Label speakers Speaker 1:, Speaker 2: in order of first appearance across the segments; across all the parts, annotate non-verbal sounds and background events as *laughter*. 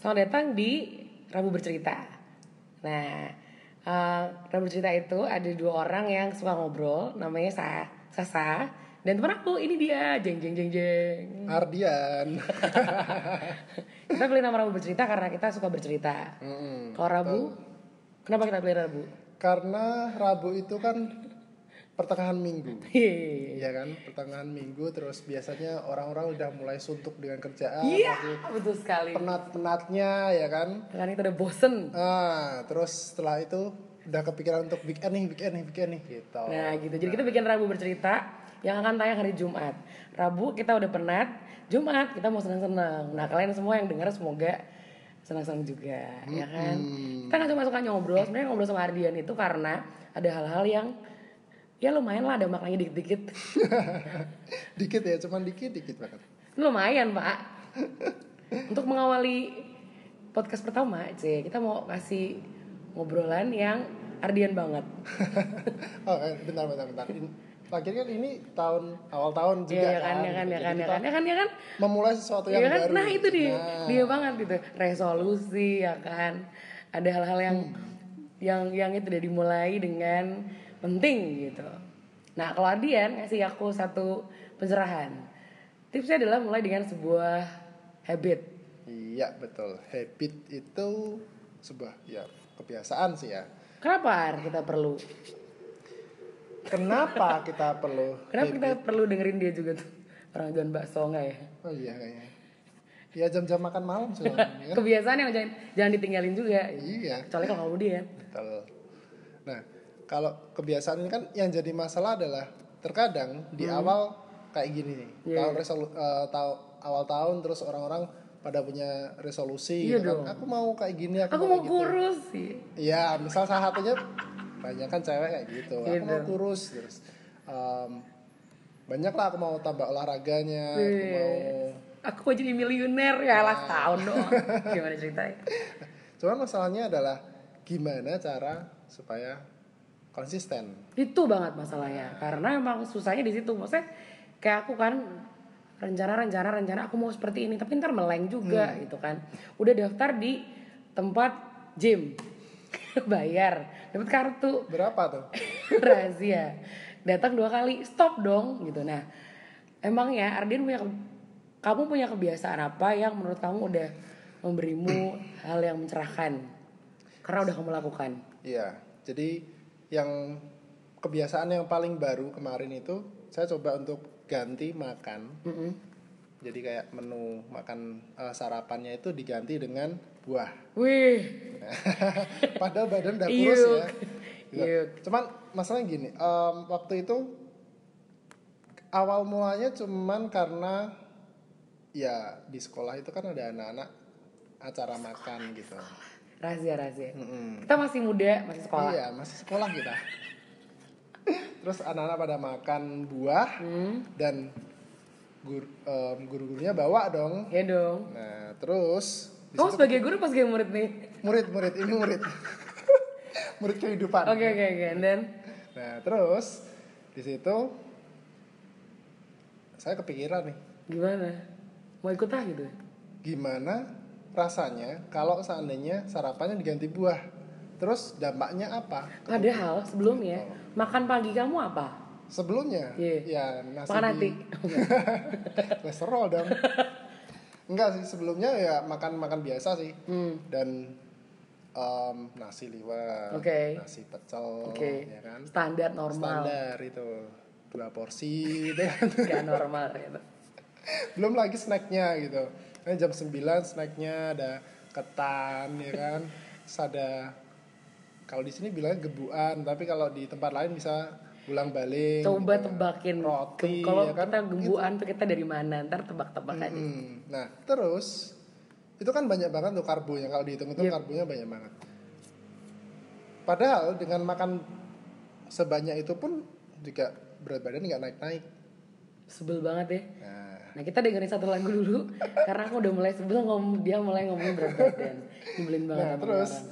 Speaker 1: Selamat datang di Rabu Bercerita. Nah, eh, Rabu Bercerita itu ada dua orang yang suka ngobrol, namanya Sa Sasa dan teman aku ini dia, jeng jeng jeng jeng.
Speaker 2: Hmm. Ardian. *laughs*
Speaker 1: Kita pilih nama Rabu Bercerita karena kita suka bercerita.
Speaker 2: Mm-mm.
Speaker 1: Kalau Rabu, kenapa kita pilih Rabu? *laughs*
Speaker 2: Karena Rabu itu kan pertengahan minggu.
Speaker 1: Hehehe.
Speaker 2: Iya kan, pertengahan minggu terus biasanya orang-orang udah mulai suntuk dengan kerjaan,
Speaker 1: Iya,
Speaker 2: lagi
Speaker 1: betul sekali.
Speaker 2: penat-penatnya ya kan.
Speaker 1: Karena kita udah bosen.
Speaker 2: Ah, terus setelah itu udah kepikiran untuk weekend nih, weekend nih, weekend nih gitu. *laughs*
Speaker 1: Nah gitu, jadi kita bikin Rabu bercerita yang akan tayang hari Jumat. Rabu kita udah penat, Jumat kita mau senang-senang. Nah kalian semua yang dengar semoga senang-senang juga, ya kan? Kita nggak cuma suka ngobrol, sebenarnya ngobrol sama Ardian itu karena ada hal-hal yang ya lumayan lah ada maknanya dikit-dikit.
Speaker 2: Dikit ya, cuman dikit dikit banget. *laughs*
Speaker 1: Ini lumayan *laughs* pak. Untuk mengawali podcast pertama, C, kita mau kasih ngobrolan yang Ardian banget.
Speaker 2: oh, eh, bentar bentar bentar. In- Akhirnya kan ini tahun awal tahun juga
Speaker 1: Iya ya kan, ya kan, ya kan, ya
Speaker 2: Jadi kita
Speaker 1: kan, ya kan, ya kan.
Speaker 2: Memulai sesuatu
Speaker 1: Iya
Speaker 2: yang
Speaker 1: kan?
Speaker 2: baru.
Speaker 1: Nah itu dia,
Speaker 2: Nah.
Speaker 1: dia banget gitu. Resolusi ya kan. Ada hal-hal yang
Speaker 2: Hmm.
Speaker 1: yang yang itu udah dimulai dengan penting gitu. Nah kalau Adian ngasih aku satu pencerahan. Tipsnya adalah mulai dengan sebuah habit.
Speaker 2: Iya betul. Habit itu sebuah ya kebiasaan sih ya.
Speaker 1: Kenapa Ar, kita perlu? *laughs*
Speaker 2: Kenapa kita perlu?
Speaker 1: Kenapa
Speaker 2: habit?
Speaker 1: kita perlu dengerin dia juga tuh? Orang jualan bakso nggak ya?
Speaker 2: Oh iya kayaknya. Ya jam-jam makan malam
Speaker 1: *laughs*
Speaker 2: soalnya. ya.
Speaker 1: Kebiasaan yang jangan, jangan ditinggalin juga.
Speaker 2: iya
Speaker 1: Kecuali kalau ya. kamu dia.
Speaker 2: betul. Nah kalau kebiasaan ini kan yang jadi masalah adalah terkadang di awal kayak gini nih.
Speaker 1: Hmm. Iya,
Speaker 2: Tahun resolu- eh, tau- awal tahun terus orang-orang pada punya resolusi
Speaker 1: Iya
Speaker 2: gitu kan.
Speaker 1: dong.
Speaker 2: Aku mau kayak gini, aku,
Speaker 1: Aku
Speaker 2: mau
Speaker 1: mau
Speaker 2: kayak gitu.
Speaker 1: kurus sih.
Speaker 2: Iya, misal salah satunya banyak kan cewek kayak gitu. Aku mau
Speaker 1: Gitu.
Speaker 2: kurus terus. em, banyak lah aku mau tambah olahraganya, aku
Speaker 1: Wih.
Speaker 2: mau.
Speaker 1: aku mau jadi miliuner ya lah tahun doang gimana ceritanya
Speaker 2: Cuman masalahnya adalah gimana cara supaya konsisten.
Speaker 1: itu banget masalahnya karena emang susahnya di situ maksudnya kayak aku kan rencana rencana rencana aku mau seperti ini tapi ntar meleng juga gitu kan udah daftar di tempat gym *laughs* bayar dapat kartu
Speaker 2: Berapa tuh?
Speaker 1: razia datang dua kali stop dong gitu nah emang ya Ardin punya ke- kamu punya kebiasaan apa yang menurut kamu udah memberimu hal yang mencerahkan karena udah kamu lakukan
Speaker 2: Iya. Jadi yang kebiasaan yang paling baru kemarin itu saya coba untuk ganti makan.
Speaker 1: Mm-mm.
Speaker 2: Jadi kayak menu makan eh, sarapannya itu diganti dengan buah.
Speaker 1: wih
Speaker 2: Padahal badan udah kurus ya.
Speaker 1: Yuk.
Speaker 2: Gitu.
Speaker 1: Yuk.
Speaker 2: Cuman masalahnya gini, em, waktu itu awal mulanya cuman karena ya di sekolah itu kan ada anak-anak acara makan gitu.
Speaker 1: razia razia
Speaker 2: Mm-mm.
Speaker 1: kita masih muda masih sekolah
Speaker 2: Iya, masih sekolah kita. Terus anak-anak pada makan buah
Speaker 1: hmm.
Speaker 2: dan gur- em, guru-gurunya bawa dong.
Speaker 1: ya dong
Speaker 2: Nah, terus
Speaker 1: kamu
Speaker 2: di situ- kan-
Speaker 1: sebagai guru pas sebagai murid nih
Speaker 2: murid-murid ini murid. *laughs* murid kehidupan.
Speaker 1: oke oke oke And then
Speaker 2: Nah terus di situ saya kepikiran nih
Speaker 1: gimana mau ikut ah gitu
Speaker 2: gimana rasanya kalau seandainya sarapannya diganti buah. Terus dampaknya apa?
Speaker 1: padahal sebelumnya makan pagi kamu apa
Speaker 2: Sebelumnya
Speaker 1: Iya.
Speaker 2: ya nasi
Speaker 1: makan
Speaker 2: *laughs*
Speaker 1: hati
Speaker 2: di- kolesterol dong. Enggak sih sebelumnya ya makan makan biasa sih
Speaker 1: hmm.
Speaker 2: dan em, nasi liwet,
Speaker 1: Oke.
Speaker 2: nasi pecel,
Speaker 1: Oke.
Speaker 2: ya kan?
Speaker 1: Standar normal. *laughs*
Speaker 2: Standar itu dua porsi *laughs* gitu kan.
Speaker 1: Gak normal gitu. ternyata.
Speaker 2: belum lagi snacknya gitu Nah, jam 9 snacknya ada ketan ya kan Terus ada kalau di sini bilangnya gebuan tapi kalau di tempat lain bisa ulang balik gitu.
Speaker 1: Coba tebakin.
Speaker 2: Iya. Roti,
Speaker 1: Ke- Kalau
Speaker 2: ya kan?
Speaker 1: kita gembuan tuh kita dari mana? Ntar tebak-tebak aja.
Speaker 2: nah terus itu kan banyak banget tuh karbonya kalau dihitung itu karbonya banyak banget padahal dengan makan sebanyak itu pun juga berat badan nggak naik naik
Speaker 1: Sebel banget ya.
Speaker 2: nah
Speaker 1: Nah kita dengerin satu lagu dulu *laughs* karena aku udah mulai sebel ngom dia mulai ngomong berat badan. Nyebelin banget.
Speaker 2: Nah,
Speaker 1: sama
Speaker 2: terus
Speaker 1: orang.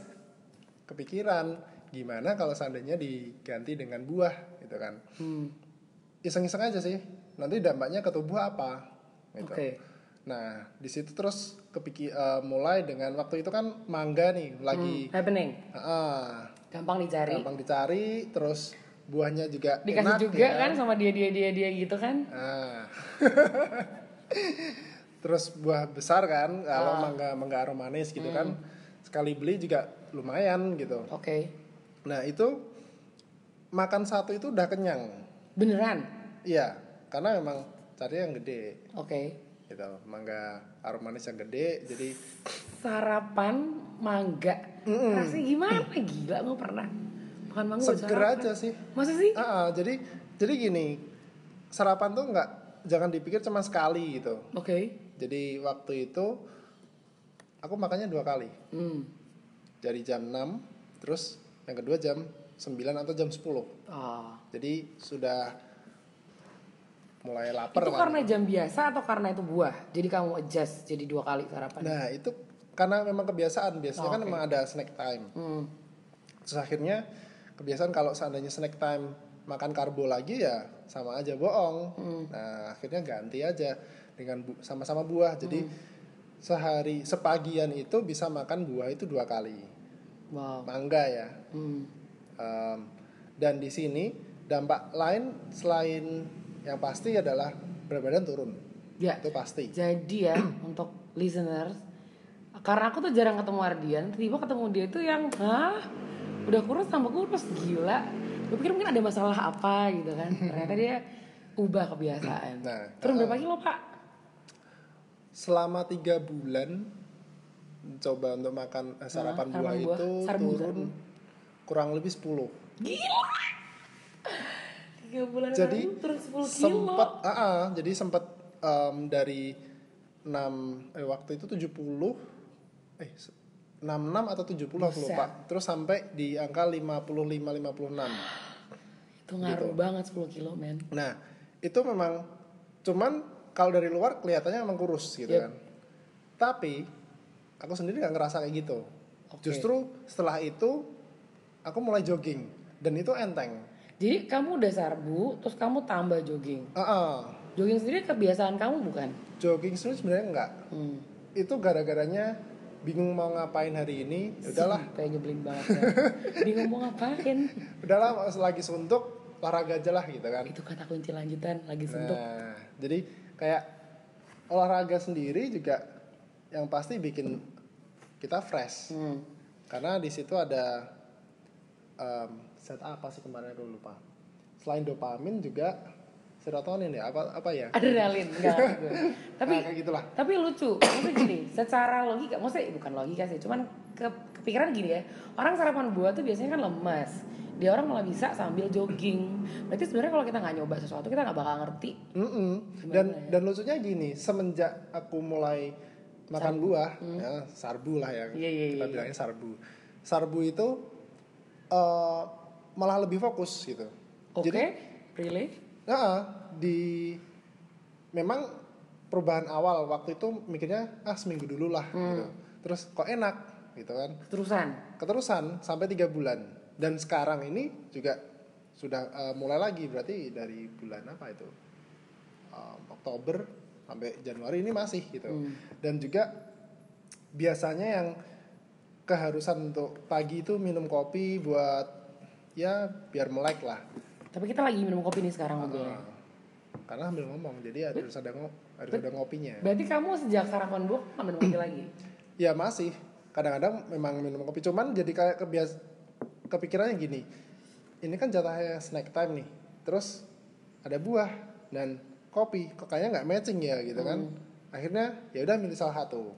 Speaker 2: kepikiran gimana kalau seandainya diganti dengan buah gitu kan.
Speaker 1: Hmm.
Speaker 2: Iseng-iseng aja sih. Nanti dampaknya ke tubuh apa
Speaker 1: Oke.
Speaker 2: gitu. Nah, di situ terus kepiki eh, mulai dengan waktu itu kan mangga nih lagi
Speaker 1: happening
Speaker 2: ah,
Speaker 1: gampang dicari
Speaker 2: gampang dicari, terus buahnya juga
Speaker 1: dikasih
Speaker 2: enak
Speaker 1: juga
Speaker 2: ya.
Speaker 1: kan sama dia dia dia dia gitu kan
Speaker 2: Ah. *laughs* Terus buah besar kan, kalau
Speaker 1: Ah.
Speaker 2: mangga mangga aromanis gitu kan,
Speaker 1: Hmm.
Speaker 2: sekali beli juga lumayan gitu.
Speaker 1: oke
Speaker 2: Nah itu makan satu itu udah kenyang,
Speaker 1: beneran
Speaker 2: iya, karena memang cari yang gede
Speaker 1: oke
Speaker 2: gitu, mangga aromanis yang gede, jadi
Speaker 1: sarapan mangga rasanya gimana gila gue pernah makan mangga buat
Speaker 2: seger
Speaker 1: sarapan.
Speaker 2: aja sih.
Speaker 1: masa sih
Speaker 2: Ah, ah, jadi jadi gini, sarapan tuh nggak jangan dipikir cuma sekali gitu.
Speaker 1: oke
Speaker 2: Jadi waktu itu aku makannya dua kali.
Speaker 1: hmm.
Speaker 2: dari jam 6 terus yang kedua jam 9 atau jam 10
Speaker 1: Ah.
Speaker 2: jadi sudah mulai lapar
Speaker 1: itu
Speaker 2: kan.
Speaker 1: karena jam biasa atau karena itu buah jadi kamu adjust jadi dua kali sarapan
Speaker 2: nah itu karena memang kebiasaan biasanya
Speaker 1: Oh,
Speaker 2: kan
Speaker 1: oke.
Speaker 2: memang ada snack time
Speaker 1: hmm.
Speaker 2: terus akhirnya kebiasaan kalau seandainya snack time makan karbo lagi ya sama aja bohong nah akhirnya ganti aja dengan bu- sama-sama buah jadi sehari sepagian itu bisa makan buah itu dua kali
Speaker 1: wow
Speaker 2: mangga ya
Speaker 1: hmm.
Speaker 2: Um, dan di sini dampak lain selain yang pasti adalah berat badan turun.
Speaker 1: ya
Speaker 2: Itu pasti.
Speaker 1: Jadi ya *clears throat* untuk listeners, karena aku tuh jarang ketemu Ardian, tiba ketemu dia tuh yang hah udah kurus tambah kurus gila. Gue pikir mungkin ada masalah apa gitu *laughs* kan. Ternyata dia ubah kebiasaan.
Speaker 2: Nah,
Speaker 1: Turun berapa kilo pak?
Speaker 2: Selama tiga bulan coba untuk makan eh, sarapan
Speaker 1: sarapan
Speaker 2: buah
Speaker 1: buah.
Speaker 2: itu
Speaker 1: Sarap buah,
Speaker 2: turun
Speaker 1: sarap
Speaker 2: kurang lebih 10.
Speaker 1: Tiga bulan
Speaker 2: Jadi
Speaker 1: lalu turun 10 kilo.
Speaker 2: sempat ah, ah, jadi sempat dari 6 eh waktu itu 70 eh se- 66 atau 70 aku lupa. Terus sampai di angka 55 56.
Speaker 1: Itu ngaruh banget 10 kilo men.
Speaker 2: Nah, itu memang cuman kalau dari luar kelihatannya memang kurus gitu
Speaker 1: Yep.
Speaker 2: kan. Tapi aku sendiri nggak ngerasa kayak gitu.
Speaker 1: Oke.
Speaker 2: Justru setelah itu aku mulai jogging dan itu enteng.
Speaker 1: Jadi kamu udah sarbu, terus kamu tambah jogging.
Speaker 2: Ah, ah.
Speaker 1: Jogging sendiri kebiasaan kamu bukan?
Speaker 2: jogging sendiri sebenarnya enggak.
Speaker 1: Hmm.
Speaker 2: Itu gara-garanya bingung mau ngapain hari ini. Ya
Speaker 1: *laughs*
Speaker 2: Udahlah,
Speaker 1: Sih, Kayak nyebelin banget.
Speaker 2: *laughs*
Speaker 1: ya. Bingung mau ngapain.
Speaker 2: udahlah lagi suntuk olahraga aja lah gitu kan.
Speaker 1: itu kata kunci lanjutan lagi suntuk
Speaker 2: Nah, jadi kayak olahraga sendiri juga yang pasti bikin kita fresh.
Speaker 1: hmm.
Speaker 2: Karena di situ ada em, zat apa sih kemarin aku lupa. Selain dopamin juga serotonin ya apa apa ya?
Speaker 1: adrenalin
Speaker 2: *laughs*
Speaker 1: enggak ngerti gue. tapi
Speaker 2: Nah, kayak gitulah.
Speaker 1: tapi lucu maksudnya gini secara logika maksudnya eh, bukan logika sih cuman ke- kepikiran gini ya orang sarapan buah tuh biasanya kan lemes dia orang malah bisa sambil jogging berarti sebenarnya kalau kita nggak nyoba sesuatu kita nggak bakal ngerti
Speaker 2: Mm-mm. Dan
Speaker 1: ya.
Speaker 2: dan lucunya gini, semenjak aku mulai makan buah, ya, sarbu lah ya.
Speaker 1: Mm. Iya, iya,
Speaker 2: Kita
Speaker 1: iya,
Speaker 2: bilangnya sarbu. Sarbu itu eh, malah lebih fokus gitu.
Speaker 1: oke
Speaker 2: Jadi
Speaker 1: really
Speaker 2: Nah, di memang perubahan awal waktu itu mikirnya ah seminggu dulu lah gitu. Terus kok enak gitu kan.
Speaker 1: terusan
Speaker 2: Keterusan sampai tiga bulan dan sekarang ini juga sudah eh, mulai lagi berarti dari bulan apa itu Um, Oktober sampai Januari ini masih gitu. Dan juga biasanya yang keharusan untuk pagi itu minum kopi buat ya biar melek lah.
Speaker 1: tapi kita lagi minum kopi nih sekarang ngobrolnya
Speaker 2: Karena sambil ngomong, jadi harus ada ngo- harus ada ngopinya.
Speaker 1: berarti kamu sejak sarapan buah nggak minum kopi lagi
Speaker 2: Ya masih. Kadang-kadang memang minum kopi, cuman jadi kayak kebias kepikirannya gini. Ini kan jatahnya snack time nih. Terus ada buah dan kopi, kok kayaknya nggak matching ya gitu kan. Akhirnya ya udah milih salah satu.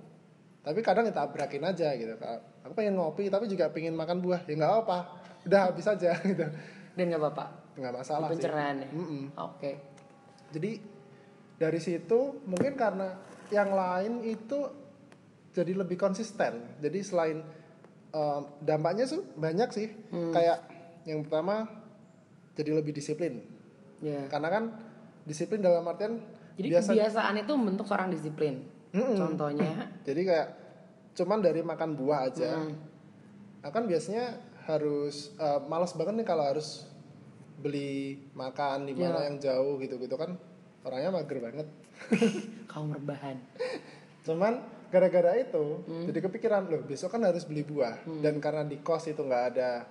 Speaker 2: Tapi kadang kita abrakin aja gitu. Aku pengen ngopi tapi juga pengen makan buah. Ya nggak apa. Udah habis aja *laughs* gitu.
Speaker 1: dan nggak apa-apa
Speaker 2: Nggak masalah sih.
Speaker 1: pencernaannya
Speaker 2: Mm-mm.
Speaker 1: oke
Speaker 2: Jadi dari situ mungkin karena yang lain itu jadi lebih konsisten. Jadi selain um, dampaknya tuh banyak sih. Kayak yang pertama jadi lebih disiplin.
Speaker 1: ya
Speaker 2: Karena kan disiplin dalam artian
Speaker 1: Jadi
Speaker 2: biasa.
Speaker 1: kebiasaan itu membentuk seorang disiplin.
Speaker 2: Mm-mm. *laughs*
Speaker 1: Contohnya,
Speaker 2: Jadi kayak cuman dari makan buah aja. Nah, kan biasanya harus eh, malas banget nih kalau harus beli makan di mana yang jauh gitu-gitu kan orangnya mager banget.
Speaker 1: kaum rebahan.
Speaker 2: Cuman gara-gara itu
Speaker 1: Hmm.
Speaker 2: jadi kepikiran loh besok kan harus beli buah dan karena di kos itu nggak ada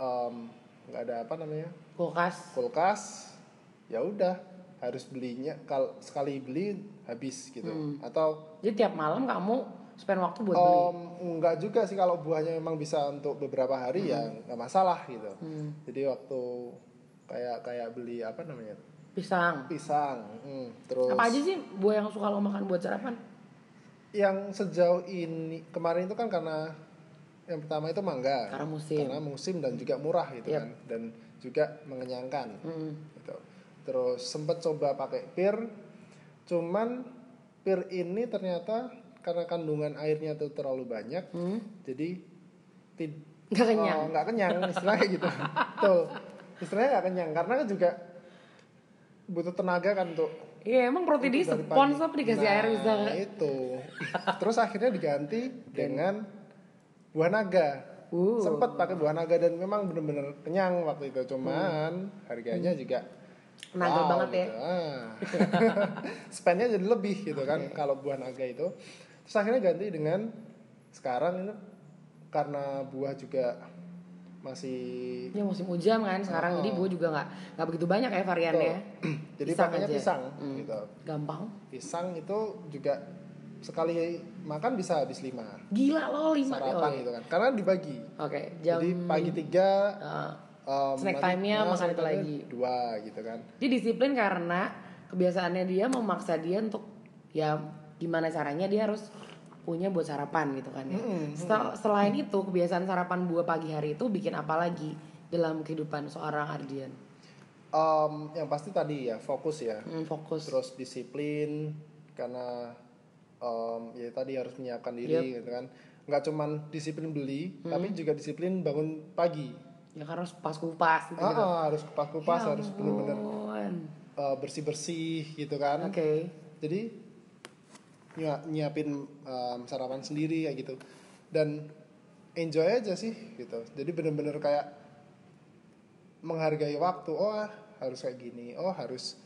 Speaker 2: em, nggak ada apa namanya
Speaker 1: Kulkas.
Speaker 2: kulkas ya udah harus belinya kal sekali beli habis gitu atau
Speaker 1: Jadi tiap malam kamu spend waktu Hmm. buat beli.
Speaker 2: em, nggak juga sih kalau buahnya memang bisa untuk beberapa hari ya nggak masalah gitu
Speaker 1: Hmm.
Speaker 2: jadi waktu kayak kayak beli apa namanya
Speaker 1: Pisang.
Speaker 2: pisang mm, terus
Speaker 1: Apa aja sih buah yang suka lo makan buat sarapan?
Speaker 2: yang sejauh ini kemarin itu kan karena yang pertama itu mangga
Speaker 1: Karena musim.
Speaker 2: Karena musim dan juga murah gitu
Speaker 1: Yep.
Speaker 2: kan dan juga mengenyangkan
Speaker 1: Hmm.
Speaker 2: gitu terus sempet coba pakai pir cuman pir ini ternyata karena kandungan airnya tuh terlalu banyak
Speaker 1: Hmm.
Speaker 2: jadi tid-
Speaker 1: Nggak kenyang.
Speaker 2: Oh, nggak kenyang istilahnya
Speaker 1: *laughs*
Speaker 2: kayak gitu tuh istilahnya nggak kenyang karena kan juga butuh tenaga kan untuk
Speaker 1: Iya emang protein di
Speaker 2: dari
Speaker 1: sepons
Speaker 2: pagi.
Speaker 1: apa dikasih
Speaker 2: Nah,
Speaker 1: air bisa.
Speaker 2: itu terus akhirnya diganti dengan buah naga
Speaker 1: Uh.
Speaker 2: sempet pakai buah naga dan memang bener-bener kenyang waktu itu cuman harganya juga
Speaker 1: Naga Hmm. banget ya.
Speaker 2: gitu. Ah. *laughs* spendnya jadi lebih gitu kan kalau buah naga itu terus akhirnya ganti dengan sekarang ini karena buah juga masih
Speaker 1: Ya musim hujan kan sekarang jadi
Speaker 2: Oh.
Speaker 1: buah juga nggak nggak begitu banyak ya variannya.
Speaker 2: gitu. *clears throat* jadi
Speaker 1: Pisang
Speaker 2: pakainya
Speaker 1: aja.
Speaker 2: pisang
Speaker 1: Hmm.
Speaker 2: gitu
Speaker 1: Gampang.
Speaker 2: pisang itu juga sekali makan bisa habis lima
Speaker 1: Gila lo lima
Speaker 2: sarapan
Speaker 1: Oke.
Speaker 2: gitu kan karena dibagi
Speaker 1: Oke jam. eh,
Speaker 2: jadi pagi tiga
Speaker 1: Heeh.
Speaker 2: em,
Speaker 1: Snack
Speaker 2: nanti-
Speaker 1: time-nya
Speaker 2: nah,
Speaker 1: makan
Speaker 2: snack
Speaker 1: itu
Speaker 2: time-nya
Speaker 1: lagi.
Speaker 2: dua gitu kan
Speaker 1: Dia disiplin karena kebiasaannya dia memaksa dia untuk ya gimana caranya dia harus punya buat sarapan gitu kan ya. Setel- Selain itu kebiasaan sarapan buah pagi hari itu bikin apa lagi dalam kehidupan seorang Ardian?
Speaker 2: Em, yang pasti tadi ya fokus ya
Speaker 1: Hmm, fokus.
Speaker 2: terus disiplin karena em, ya tadi harus menyiapkan diri gitu kan nggak cuman disiplin beli
Speaker 1: Hmm.
Speaker 2: tapi juga disiplin bangun pagi
Speaker 1: Ya karena harus pas kupas gitu. Ya
Speaker 2: Ah, ah, harus kupas-kupas harus benar-benar
Speaker 1: Ampun.
Speaker 2: bersih-bersih gitu kan
Speaker 1: Oke.
Speaker 2: jadi nyua- nyiapin um, sarapan sendiri kayak gitu dan enjoy aja sih gitu jadi bener-bener kayak menghargai waktu oh ah, harus kayak gini oh harus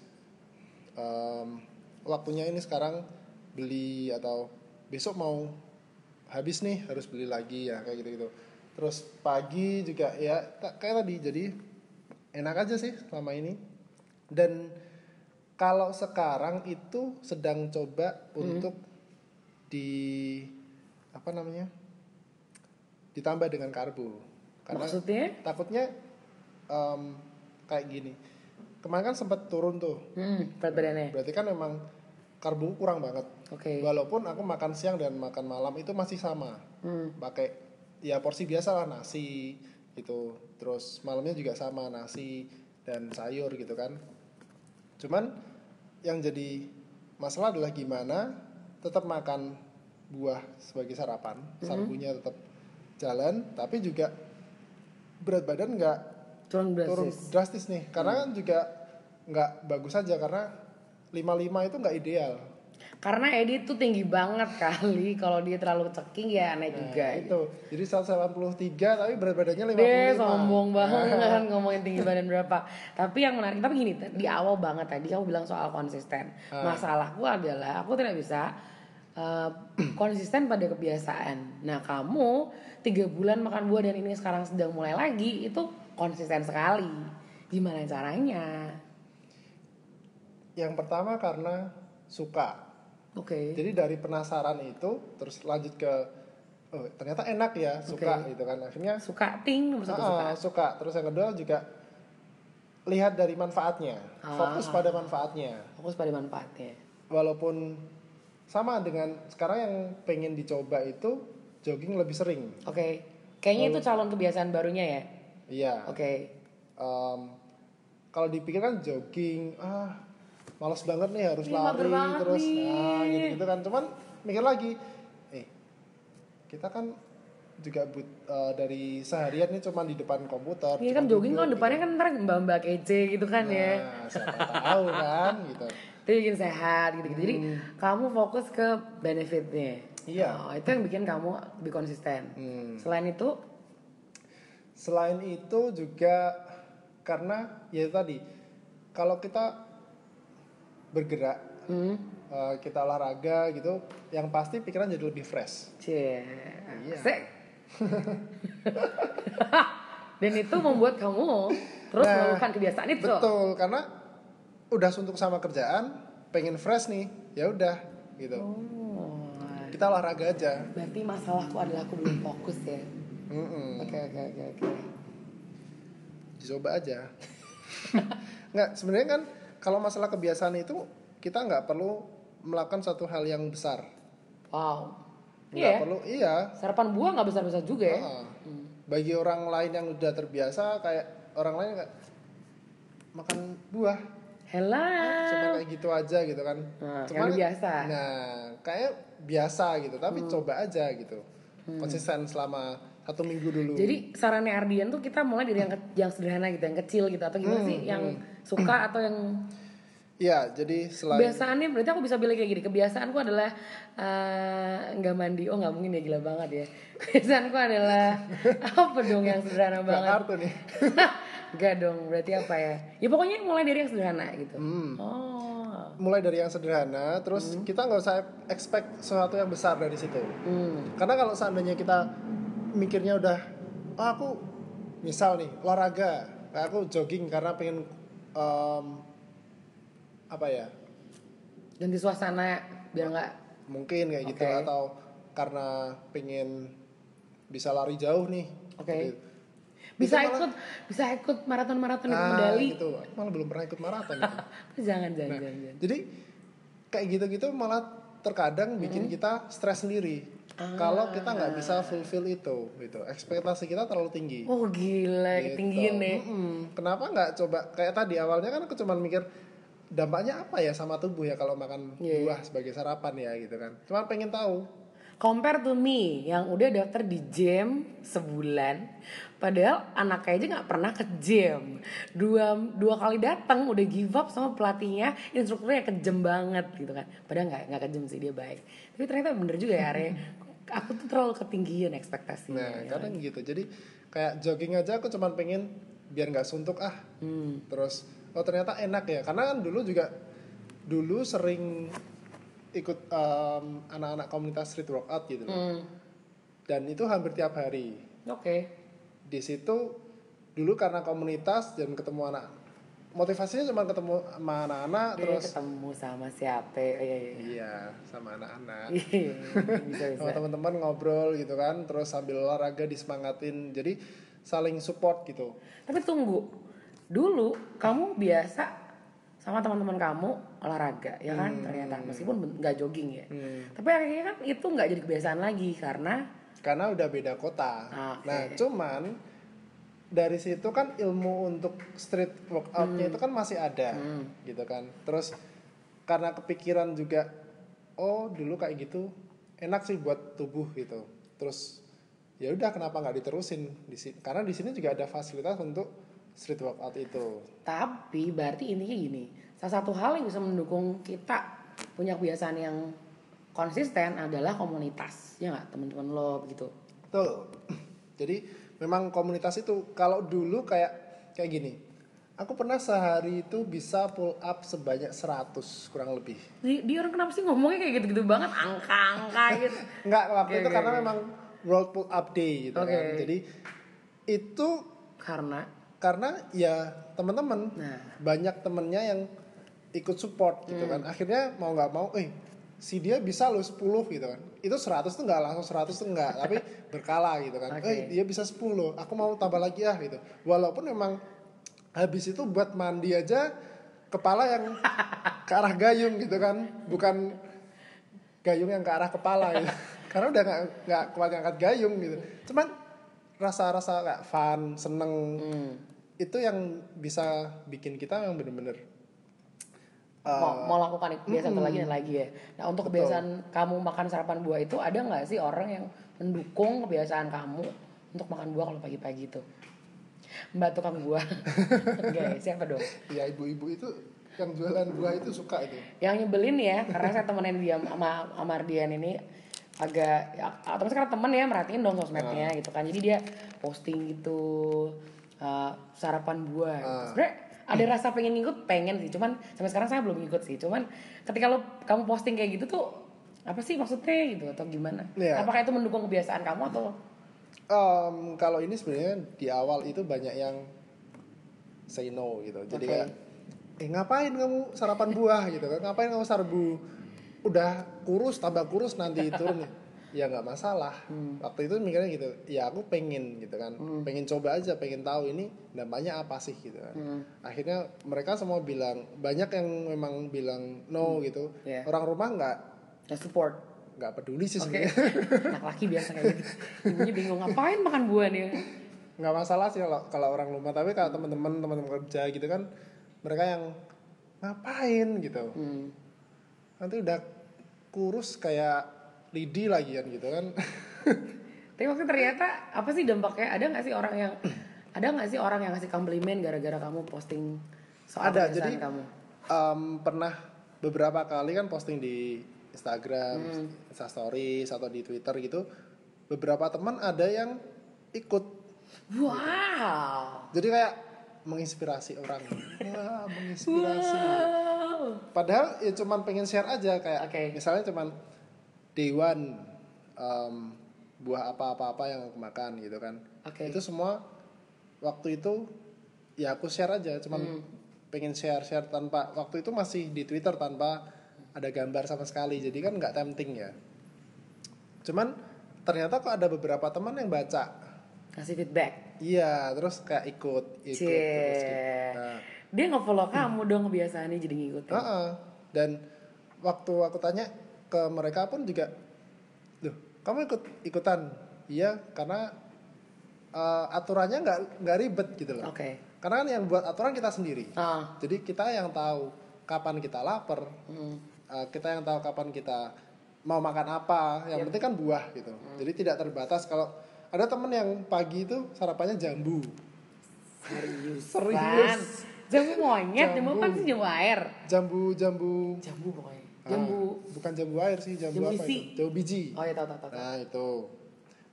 Speaker 2: um, waktunya ini sekarang beli atau besok mau habis nih harus beli lagi ya kayak gitu gitu terus pagi juga ya tak kayak tadi jadi enak aja sih selama ini dan kalau sekarang itu sedang coba untuk di apa namanya ditambah dengan karbo karena
Speaker 1: Maksudnya?
Speaker 2: takutnya em, kayak gini kemarin kan sempat turun tuh
Speaker 1: Hmm, berat badannya.
Speaker 2: berarti kan memang karbo kurang banget
Speaker 1: Oke.
Speaker 2: walaupun aku makan siang dan makan malam itu masih sama
Speaker 1: Hmm.
Speaker 2: pakai ya porsi biasa lah nasi gitu terus malamnya juga sama nasi dan sayur gitu kan cuman yang jadi masalah adalah gimana tetap makan buah sebagai sarapan
Speaker 1: Mhm.
Speaker 2: sarbunya tetap jalan tapi juga berat badan nggak
Speaker 1: Turun berat
Speaker 2: turun
Speaker 1: sis.
Speaker 2: drastis nih
Speaker 1: Hmm.
Speaker 2: karena kan juga nggak bagus aja karena 55 itu nggak ideal
Speaker 1: Karena Edi tuh tinggi banget kali. *laughs* Kalau dia terlalu ceking ya naik juga.
Speaker 2: Nah, itu jadi 183 tapi berat badannya 55
Speaker 1: Deh sombong
Speaker 2: Nah.
Speaker 1: banget *laughs* ngomongin tinggi badan berapa. Tapi yang menarik tapi gini di awal banget tadi kamu bilang soal konsisten.
Speaker 2: Ah.
Speaker 1: Masalahku adalah aku tidak bisa eh, *clears throat* konsisten pada kebiasaan. Nah kamu tiga bulan makan buah dan ini sekarang sedang mulai lagi itu konsisten sekali. Gimana caranya?
Speaker 2: yang pertama karena suka
Speaker 1: Oke.
Speaker 2: jadi dari penasaran itu terus lanjut ke oh, ternyata enak ya suka
Speaker 1: Oke.
Speaker 2: gitu kan akhirnya
Speaker 1: Suka ting nomor satu suka.
Speaker 2: ah, suka terus yang kedua juga lihat dari manfaatnya
Speaker 1: Ah.
Speaker 2: fokus pada manfaatnya
Speaker 1: Fokus pada manfaatnya.
Speaker 2: walaupun sama dengan sekarang yang pengen dicoba itu jogging lebih sering
Speaker 1: Oke. Kayaknya itu calon kebiasaan barunya ya.
Speaker 2: iya
Speaker 1: Oke.
Speaker 2: Em, kalau dipikir kan jogging ah malas banget nih harus
Speaker 1: Ih, Iya, mager
Speaker 2: lari
Speaker 1: banget
Speaker 2: terus nah
Speaker 1: nih.
Speaker 2: gitu gitu kan cuman mikir lagi eh kita kan juga but, eh, dari seharian nih cuman di depan komputer
Speaker 1: Iya kan
Speaker 2: cuman
Speaker 1: jogging
Speaker 2: duduk,
Speaker 1: kan depannya kan ntar mbak-mbak kece gitu kan
Speaker 2: gitu.
Speaker 1: ya.
Speaker 2: nah, siapa tahu
Speaker 1: *laughs*
Speaker 2: kan gitu
Speaker 1: Itu bikin sehat gitu-gitu. Jadi kamu fokus ke benefitnya.
Speaker 2: Iya.
Speaker 1: Oh, itu yang bikin kamu lebih konsisten.
Speaker 2: Hmm.
Speaker 1: Selain itu,
Speaker 2: selain itu juga karena ya itu tadi kalau kita bergerak
Speaker 1: hmm,
Speaker 2: eh, kita olahraga gitu, yang pasti pikiran jadi lebih fresh.
Speaker 1: Cie.
Speaker 2: Iya.
Speaker 1: Sek. *laughs* Dan itu membuat kamu terus
Speaker 2: Nah,
Speaker 1: melakukan kebiasaan Kan itu.
Speaker 2: Betul, karena udah suntuk sama kerjaan, pengen fresh nih, ya udah gitu.
Speaker 1: Oh,
Speaker 2: Kita olahraga aja.
Speaker 1: berarti masalahku adalah aku belum fokus ya.
Speaker 2: Hmm. Mm-mm.
Speaker 1: Oke oke oke oke.
Speaker 2: Dicoba
Speaker 1: *laughs*
Speaker 2: aja. Nggak, sebenarnya kan kalau masalah kebiasaan itu kita nggak perlu melakukan satu hal yang besar.
Speaker 1: Wow.
Speaker 2: Nggak
Speaker 1: Iya. ya.
Speaker 2: perlu, iya.
Speaker 1: Sarapan buah nggak besar besar juga ya.
Speaker 2: Ah. Bagi orang lain yang udah terbiasa, kayak orang lain nggak makan buah,
Speaker 1: Hello.
Speaker 2: cuma kayak gitu aja gitu kan.
Speaker 1: Nah,
Speaker 2: Cuma
Speaker 1: kan biasa. Hmm.
Speaker 2: Nah, kayak biasa gitu, tapi coba aja gitu. Konsisten selama satu minggu dulu.
Speaker 1: Jadi sarannya Ardian tuh kita mulai dari yang ke- yang sederhana gitu, yang kecil gitu atau gimana
Speaker 2: Hmm,
Speaker 1: sih? Yang suka atau yang
Speaker 2: Iya, jadi selain
Speaker 1: kebiasaannya berarti aku bisa bilang kayak gini. Kebiasaanku adalah eh, nggak mandi. Oh nggak mungkin ya gila banget ya. *laughs* Kebiasaanku adalah apa dong yang sederhana
Speaker 2: nggak
Speaker 1: banget?
Speaker 2: kartu nih.
Speaker 1: *laughs* Gak dong. Berarti apa ya? Ya pokoknya mulai dari yang sederhana gitu.
Speaker 2: Hmm.
Speaker 1: Oh.
Speaker 2: Mulai dari yang sederhana, terus kita nggak usah expect sesuatu yang besar dari situ.
Speaker 1: Hmm.
Speaker 2: Karena kalau seandainya kita mikirnya udah, "Ah, aku misal nih olahraga, kayak aku jogging karena pengen em, apa ya,
Speaker 1: Ganti suasana biar nggak
Speaker 2: mungkin kayak gitu
Speaker 1: Oke.
Speaker 2: atau karena pengen bisa lari jauh nih.
Speaker 1: oke.
Speaker 2: Gitu.
Speaker 1: Bisa
Speaker 2: Itu malah-
Speaker 1: ikut bisa ikut maraton-maraton ikut
Speaker 2: Ah,
Speaker 1: medali.
Speaker 2: gitu. Aku malah belum pernah ikut maraton. gitu.
Speaker 1: Jangan jangan
Speaker 2: Nah,
Speaker 1: jangan. jangan.
Speaker 2: jadi kayak gitu-gitu malah terkadang bikin kita stres sendiri.
Speaker 1: Ah.
Speaker 2: Kalau kita nggak bisa fulfill itu, gitu. Ekspektasi kita terlalu tinggi.
Speaker 1: Oh gila,
Speaker 2: Gitu.
Speaker 1: ketinggian ya.
Speaker 2: Mm-mm. Kenapa nggak coba kayak tadi awalnya kan aku cuman mikir dampaknya apa ya sama tubuh ya kalau makan
Speaker 1: Iya.
Speaker 2: buah sebagai sarapan ya gitu kan. Cuma pengen tahu.
Speaker 1: Compare to me yang udah daftar di gym sebulan, padahal anaknya aja nggak pernah ke gym. Dua dua kali datang udah give up sama pelatihnya, instrukturnya kejem banget gitu kan. Padahal nggak nggak kejem sih dia baik. Tapi ternyata bener juga ya Arya. Aku tuh terlalu ketinggian ekspektasinya.
Speaker 2: Nah,
Speaker 1: ya.
Speaker 2: kadang gitu. Jadi kayak jogging aja aku cuman pengen biar nggak suntuk ah.
Speaker 1: Hmm.
Speaker 2: Terus oh ternyata enak ya. Karena kan dulu juga dulu sering ikut em, anak-anak komunitas street workout gitu loh.
Speaker 1: Hmm.
Speaker 2: Dan itu hampir tiap hari.
Speaker 1: Oke.
Speaker 2: Di situ dulu karena komunitas dan ketemu anak motivasinya cuma ketemu sama anak-anak
Speaker 1: Dia
Speaker 2: terus
Speaker 1: ketemu sama siapa? Oh, iya,
Speaker 2: *laughs*
Speaker 1: iya.
Speaker 2: iya sama anak-anak.
Speaker 1: Iya, bisa
Speaker 2: sama
Speaker 1: bisa.
Speaker 2: teman-teman ngobrol gitu kan terus sambil olahraga disemangatin jadi saling support gitu
Speaker 1: Tapi tunggu, dulu kamu biasa sama teman-teman kamu olahraga ya kan ternyata meskipun ben- nggak jogging ya. Tapi akhirnya kan itu nggak jadi kebiasaan lagi karena
Speaker 2: karena udah beda kota.
Speaker 1: Oke.
Speaker 2: Nah, cuman dari situ kan ilmu untuk street workoutnya itu kan masih ada, gitu kan. Terus karena kepikiran juga, oh dulu kayak gitu enak sih buat tubuh gitu. Terus ya udah kenapa nggak diterusin di sini? Karena di sini juga ada fasilitas untuk street workout itu.
Speaker 1: tapi berarti intinya gini, salah satu hal yang bisa mendukung kita punya kebiasaan yang konsisten adalah komunitas ya nggak teman-teman lo gitu.
Speaker 2: Betul. *clears throat* Jadi memang komunitas itu kalau dulu kayak kayak gini. Aku pernah sehari itu bisa pull up sebanyak 100 kurang lebih.
Speaker 1: Di, di orang kenapa sih ngomongnya kayak gitu-gitu banget angka-angka gitu.
Speaker 2: Enggak waktu
Speaker 1: Oke,
Speaker 2: itu
Speaker 1: oke,
Speaker 2: karena
Speaker 1: oke.
Speaker 2: memang World Pull Up Day gitu kan.
Speaker 1: Oke.
Speaker 2: Jadi itu
Speaker 1: *laughs* Karena
Speaker 2: karena ya teman-teman
Speaker 1: Nah.
Speaker 2: banyak temennya yang ikut support gitu kan. Akhirnya mau nggak mau eh si dia bisa loh 10 gitu kan. Itu 100 tuh nggak langsung 100 tuh nggak, tapi berkala gitu kan.
Speaker 1: Oke.
Speaker 2: Eh dia bisa 10, aku mau tambah lagi ah gitu. Walaupun memang habis itu buat mandi aja kepala yang ke arah gayung gitu kan, bukan gayung yang ke arah kepala gitu. Karena udah nggak nggak kuat ngangkat gayung gitu. Cuman rasa-rasa kayak fun, seneng
Speaker 1: hmm.
Speaker 2: itu yang bisa bikin kita yang bener-bener
Speaker 1: mau,
Speaker 2: Eh,
Speaker 1: mau lakukan kebiasaan itu lagi dan lagi ya. Nah untuk kebiasaan kamu makan sarapan buah itu ada nggak sih orang yang mendukung kebiasaan kamu untuk makan buah kalau pagi-pagi itu? Mbak tukang buah, *laughs* guys siapa dong?
Speaker 2: ya ibu-ibu itu yang jualan buah itu suka itu.
Speaker 1: Yang nyebelin ya karena saya temenin dia sama sama Ardian ini agak ya, otomatis karena temen ya merhatiin dong sosmednya gitu kan jadi dia posting gitu eh, sarapan buah gitu. Sebenernya ada rasa pengen ngikut pengen sih cuman sampai sekarang saya belum ngikut sih cuman ketika lo kamu posting kayak gitu tuh apa sih maksudnya gitu atau gimana
Speaker 2: Iya.
Speaker 1: apakah itu mendukung kebiasaan kamu atau
Speaker 2: Em, kalau ini sebenarnya di awal itu banyak yang say no gitu. Jadi
Speaker 1: Oke.
Speaker 2: kayak eh ngapain kamu sarapan buah gitu kan? Ngapain kamu sarbu? Udah kurus tambah kurus nanti turun ya nggak masalah.
Speaker 1: Hmm.
Speaker 2: Waktu itu mikirnya gitu. Ya aku pengen gitu kan. Pengen coba aja, pengen tahu ini dampaknya apa sih gitu kan.
Speaker 1: Hmm.
Speaker 2: Akhirnya mereka semua bilang banyak yang memang bilang no gitu.
Speaker 1: Iya.
Speaker 2: Orang rumah nggak
Speaker 1: ya support
Speaker 2: nggak peduli sih
Speaker 1: Oke, *laughs*
Speaker 2: sebenarnya.
Speaker 1: anak laki biasa kayak gitu. Ibunya bingung ngapain makan buah nih.
Speaker 2: nggak masalah sih kalau kalau orang rumah tapi kalau teman-teman teman-teman kerja gitu kan mereka yang ngapain gitu
Speaker 1: Hmm.
Speaker 2: nanti udah kurus kayak lidi lagian gitu kan *laughs*
Speaker 1: Tapi waktu ternyata apa sih dampaknya? Ada nggak sih orang yang ada nggak sih orang yang ngasih komplimen gara-gara kamu posting soal
Speaker 2: Ada,
Speaker 1: kebiasaan
Speaker 2: jadi-
Speaker 1: kamu?
Speaker 2: Em, pernah beberapa kali kan posting di Instagram, Instastory atau di Twitter gitu beberapa teman ada yang ikut
Speaker 1: Wow.
Speaker 2: jadi kayak menginspirasi orang Wah, menginspirasi
Speaker 1: Wow.
Speaker 2: Padahal ya cuman pengen share aja kayak
Speaker 1: Oke.
Speaker 2: misalnya cuman Dewan buah apa-apa-apa yang aku makan gitu kan.
Speaker 1: Oke.
Speaker 2: Itu semua waktu itu ya aku share aja
Speaker 1: Hmm.
Speaker 2: cuman pengen share-share tanpa waktu itu masih di Twitter tanpa ada gambar sama sekali. Jadi kan nggak tempting ya. Cuman ternyata kok ada beberapa teman yang baca.
Speaker 1: Kasih feedback.
Speaker 2: Iya, terus kayak ikut, ikut terus gitu.
Speaker 1: Cie.
Speaker 2: Nah,
Speaker 1: Dia nge-follow kamu dong kebiasaannya jadi ngikutin.
Speaker 2: Heeh. Dan waktu aku tanya ke mereka pun juga, loh kamu ikut ikutan? Iya, karena eh, aturannya nggak nggak ribet gitu loh.
Speaker 1: Oke.
Speaker 2: Karena kan yang buat aturan kita sendiri.
Speaker 1: Ah.
Speaker 2: Jadi kita yang tahu kapan kita lapar,
Speaker 1: Hmm.
Speaker 2: eh, kita yang tahu kapan kita mau makan apa.
Speaker 1: Iya.
Speaker 2: Yang penting kan buah gitu.
Speaker 1: Hmm.
Speaker 2: Jadi tidak terbatas kalau ada temen yang pagi itu sarapannya jambu.
Speaker 1: Serius.
Speaker 2: Serius.
Speaker 1: Jambu monyet, jambu apa sih? Jambu air.
Speaker 2: Jambu jambu
Speaker 1: Jambu pokoknya.
Speaker 2: Ah,
Speaker 1: Jambu.
Speaker 2: bukan jambu air sih, jambu,
Speaker 1: Jambu
Speaker 2: apa
Speaker 1: isi.
Speaker 2: itu? Jambu biji.
Speaker 1: Oh ya tahu tahu tahu. tahu.
Speaker 2: Nah, itu.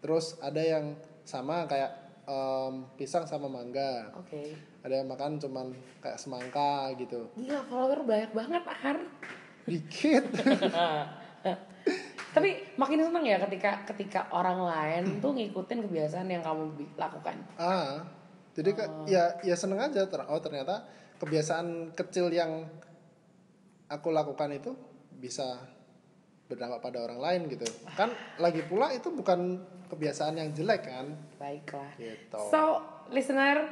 Speaker 2: Terus ada yang sama kayak em, pisang sama mangga.
Speaker 1: Oke.
Speaker 2: Ada yang makan cuman kayak semangka gitu.
Speaker 1: Gila follower banyak banget Ar.
Speaker 2: Dikit. *laughs*
Speaker 1: Tapi makin seneng ya ketika ketika orang lain tuh ngikutin kebiasaan yang kamu bi- lakukan.
Speaker 2: ah. Jadi ke- ya ya seneng aja ter- oh ternyata kebiasaan kecil yang aku lakukan itu bisa berdampak pada orang lain gitu. Kan lagi pula itu bukan kebiasaan yang jelek kan.
Speaker 1: Baiklah.
Speaker 2: Gitu.
Speaker 1: So, listener,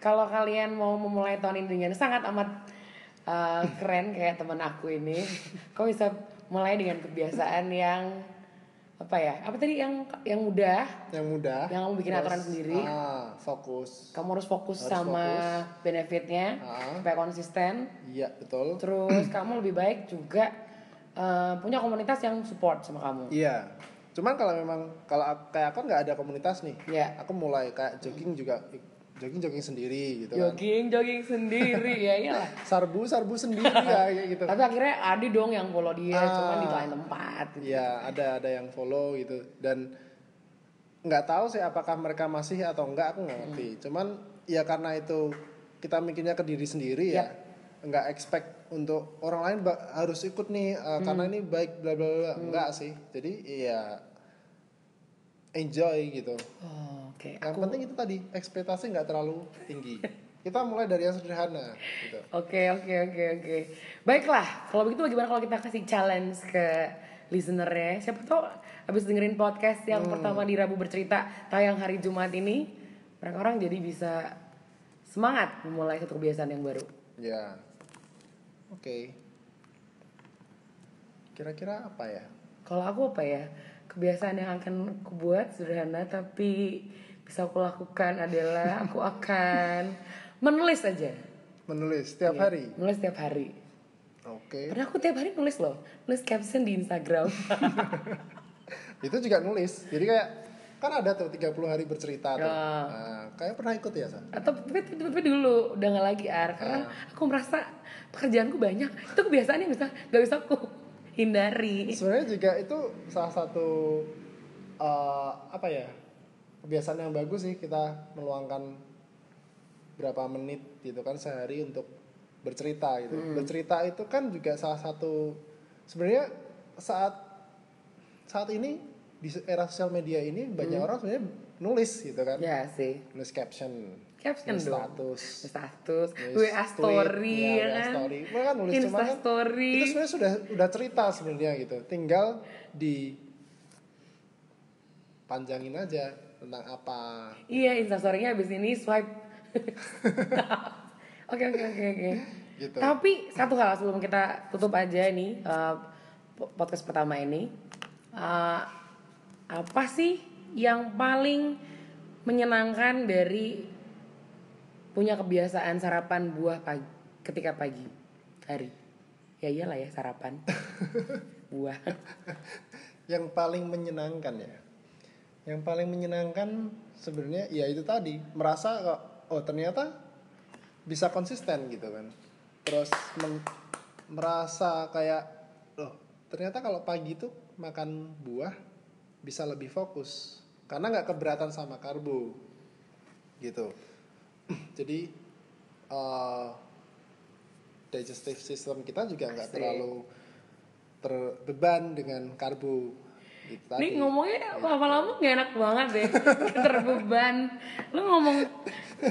Speaker 1: kalau kalian mau memulai tahun ini dengan sangat amat uh, keren kayak teman aku ini, kau bisa mulai dengan kebiasaan yang apa ya? Apa tadi yang yang mudah?
Speaker 2: Yang mudah.
Speaker 1: Yang kamu bikin aturan sendiri.
Speaker 2: Ah, fokus.
Speaker 1: Kamu harus fokus
Speaker 2: Harus
Speaker 1: sama
Speaker 2: fokus.
Speaker 1: benefitnya
Speaker 2: Ah.
Speaker 1: supaya konsisten.
Speaker 2: Iya betul.
Speaker 1: Terus kamu lebih baik juga eh, punya komunitas yang support sama kamu.
Speaker 2: Iya. Cuman kalau memang kalau aku- kayak aku nggak ada komunitas nih.
Speaker 1: Iya.
Speaker 2: Aku mulai kayak jogging juga jogging jogging sendiri gitu kan.
Speaker 1: Jogging, jogging sendiri ya iyalah.
Speaker 2: Sarbu sarbu sendiri ya kayak gitu.
Speaker 1: Tapi akhirnya ada dong yang follow dia,
Speaker 2: Ah.
Speaker 1: cuman di lain tempat. gitu.
Speaker 2: Iya ada ada yang follow gitu dan nggak tahu sih apakah mereka masih atau enggak aku nggak ngerti. Cuman ya karena itu kita mikirnya ke diri sendiri ya. nggak expect untuk orang lain ba- harus ikut nih eh, karena ini baik bla bla bla enggak sih. Jadi iya enjoy gitu.
Speaker 1: Oh, Oke,
Speaker 2: Yang penting itu tadi ekspektasi nggak terlalu tinggi. Kita mulai dari yang sederhana gitu.
Speaker 1: oke, oke, oke, oke. Baiklah, kalau begitu bagaimana kalau kita kasih challenge ke listenernya? Siapa tahu habis dengerin podcast yang pertama di Rabu bercerita tayang hari Jumat ini, mereka orang jadi bisa semangat memulai satu kebiasaan yang baru.
Speaker 2: Ya. Oke. Kira-kira apa ya?
Speaker 1: Kalau aku apa ya? Kebiasaan yang akan aku buat sederhana tapi bisa aku lakukan
Speaker 2: *laughs*
Speaker 1: adalah aku akan menulis aja.
Speaker 2: Menulis setiap hari.
Speaker 1: Menulis tiap hari.
Speaker 2: Oke.
Speaker 1: Padahal aku tiap hari nulis loh. Nulis caption di
Speaker 2: *laughs*
Speaker 1: Instagram.
Speaker 2: Itu juga nulis. Jadi kayak kan ada tuh 30 hari bercerita tuh.
Speaker 1: Ya.
Speaker 2: Nah, kayak pernah ikut ya, Sa?
Speaker 1: Atau tapi, tapi, tapi dulu udah nggak lagi Ar karena
Speaker 2: Iya.
Speaker 1: aku merasa pekerjaanku banyak. Itu kebiasaan yang bisa nggak bisa aku hindari.
Speaker 2: Sebenarnya juga itu salah satu eh, apa ya? Kebiasaan yang bagus sih kita meluangkan berapa menit gitu kan sehari untuk bercerita gitu.
Speaker 1: Hmm.
Speaker 2: Bercerita itu kan juga salah satu sebenarnya saat saat ini di era sosial media ini banyak orang sebenarnya nulis gitu kan.
Speaker 1: Hmm. Ya sih.
Speaker 2: Nulis caption,
Speaker 1: Caption
Speaker 2: nulis
Speaker 1: dong.
Speaker 2: status,
Speaker 1: Status,
Speaker 2: nulis
Speaker 1: WA story,
Speaker 2: tweet,
Speaker 1: ya
Speaker 2: ya, WA
Speaker 1: kan?
Speaker 2: story. Cuma kan nulis cuma
Speaker 1: Insta
Speaker 2: kan
Speaker 1: story.
Speaker 2: itu sebenarnya sudah udah cerita sebenarnya gitu. Tinggal di panjangin aja tentang apa
Speaker 1: Iya, Insta story-nya abis ini swipe. *laughs* Oke, oke, oke, oke.
Speaker 2: Gitu.
Speaker 1: Tapi satu hal sebelum kita tutup aja nih eh, po- podcast pertama ini. Eh, apa sih yang paling menyenangkan dari punya kebiasaan sarapan buah pagi ketika pagi hari? Ya iyalah ya sarapan. buah.
Speaker 2: yang paling menyenangkan ya yang paling menyenangkan sebenarnya ya itu tadi merasa kok oh ternyata bisa konsisten gitu kan terus men- merasa kayak loh ternyata kalau pagi itu makan buah bisa lebih fokus karena nggak keberatan sama karbo gitu *clears throat* jadi eh, digestive system kita juga nggak
Speaker 1: Pasti.
Speaker 2: terlalu terbeban dengan karbo gitu tadi.
Speaker 1: Ini ngomongnya lama-lama gak enak banget deh Terbeban Lu ngomong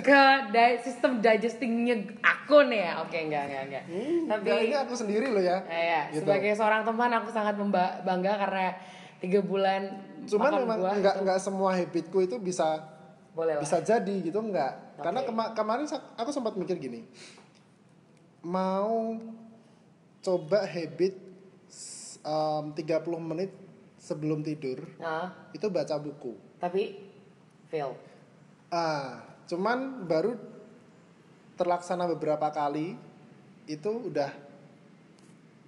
Speaker 1: ke di- sistem digestingnya aku nih ya Oke enggak enggak enggak Tapi
Speaker 2: Nah, ini aku sendiri loh ya.
Speaker 1: eh, ya,
Speaker 2: Gitu.
Speaker 1: sebagai seorang teman aku sangat memba- bangga karena tiga bulan
Speaker 2: Cuman
Speaker 1: makan
Speaker 2: memang
Speaker 1: buah
Speaker 2: nggak nggak semua habitku itu bisa
Speaker 1: boleh lah
Speaker 2: bisa jadi gitu nggak. Karena kema- kemarin sa- aku sempat mikir gini, mau coba habit s- um, 30 menit sebelum tidur
Speaker 1: Nah,
Speaker 2: itu baca buku.
Speaker 1: Tapi fail
Speaker 2: Ah, cuman baru terlaksana beberapa kali itu udah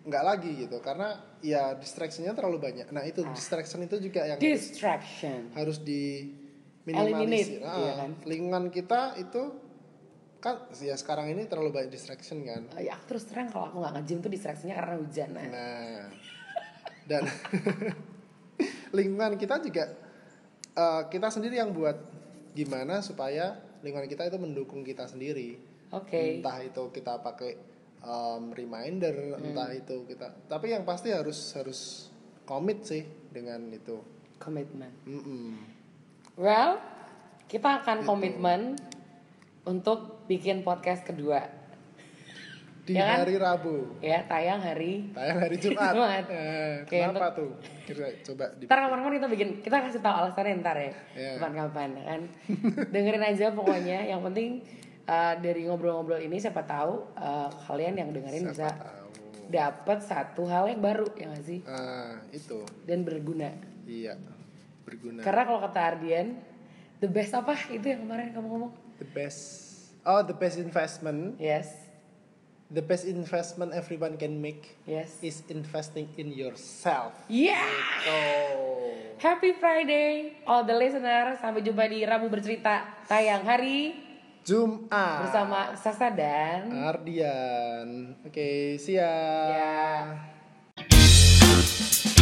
Speaker 2: nggak lagi gitu karena ya distraction-nya terlalu banyak.
Speaker 1: Ah.
Speaker 2: Nah, itu distraction itu juga yang
Speaker 1: Distraction
Speaker 2: harus di minimalisir.
Speaker 1: Eliminate, iya kan?
Speaker 2: Lingkungan kita itu kan ya sekarang ini terlalu banyak distraction kan.
Speaker 1: Eh, Ya aku terus terang kalau aku gak nge-gym tuh distraksinya karena hujan nah.
Speaker 2: Nah, dan *laughs* lingkungan kita juga eh, kita sendiri yang buat gimana supaya lingkungan kita itu mendukung kita sendiri.
Speaker 1: Oke
Speaker 2: Entah itu kita pakai em, reminder,
Speaker 1: Hmm.
Speaker 2: entah itu kita. Tapi yang pasti harus harus komit sih dengan itu.
Speaker 1: Komitmen
Speaker 2: Mm-mm.
Speaker 1: Well, kita akan komitmen untuk bikin podcast kedua.
Speaker 2: Di
Speaker 1: Ya kan?
Speaker 2: hari Rabu,
Speaker 1: Ya, tayang hari.
Speaker 2: tayang
Speaker 1: *laughs*
Speaker 2: hari Jumat.
Speaker 1: Jumat.
Speaker 2: Eh,
Speaker 1: Oke,
Speaker 2: kenapa tuh? Kira coba di
Speaker 1: Ntar kapan-kapan kita bikin, kita kasih tahu alasannya ntar ya.
Speaker 2: Iya.
Speaker 1: Kapan-kapan kan. *laughs* Dengerin aja pokoknya. Yang penting eh, dari ngobrol-ngobrol ini siapa tahu eh, kalian yang dengerin bisa
Speaker 2: tahu.
Speaker 1: dapat satu hal yang baru ya nggak sih
Speaker 2: Ah, itu.
Speaker 1: dan berguna.
Speaker 2: Iya. Berguna.
Speaker 1: Karena kalau kata Ardian, the best apa itu yang kemarin kamu ngomong?
Speaker 2: The best. Oh, the best investment.
Speaker 1: Yes,
Speaker 2: The best investment everyone can make
Speaker 1: yes.
Speaker 2: is investing in yourself.
Speaker 1: Yeah.
Speaker 2: Oh.
Speaker 1: Happy Friday, all the listeners. Sampai jumpa di Rabu Bercerita tayang hari
Speaker 2: Jumat.
Speaker 1: bersama Sasa dan
Speaker 2: Ardian. Oke, siap.
Speaker 1: ya.